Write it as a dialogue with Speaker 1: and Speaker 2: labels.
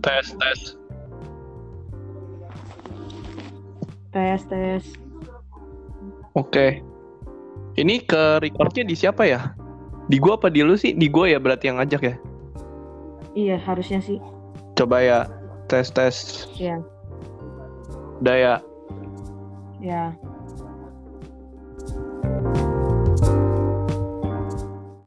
Speaker 1: Tes, tes.
Speaker 2: Tes, tes.
Speaker 1: Oke. Ini ke recordnya di siapa ya? Di gua apa di lu sih? Di gua ya berarti yang ngajak ya?
Speaker 2: Iya, harusnya sih.
Speaker 1: Coba ya. Tes, tes.
Speaker 2: Iya.
Speaker 1: Udah ya.
Speaker 2: Ya,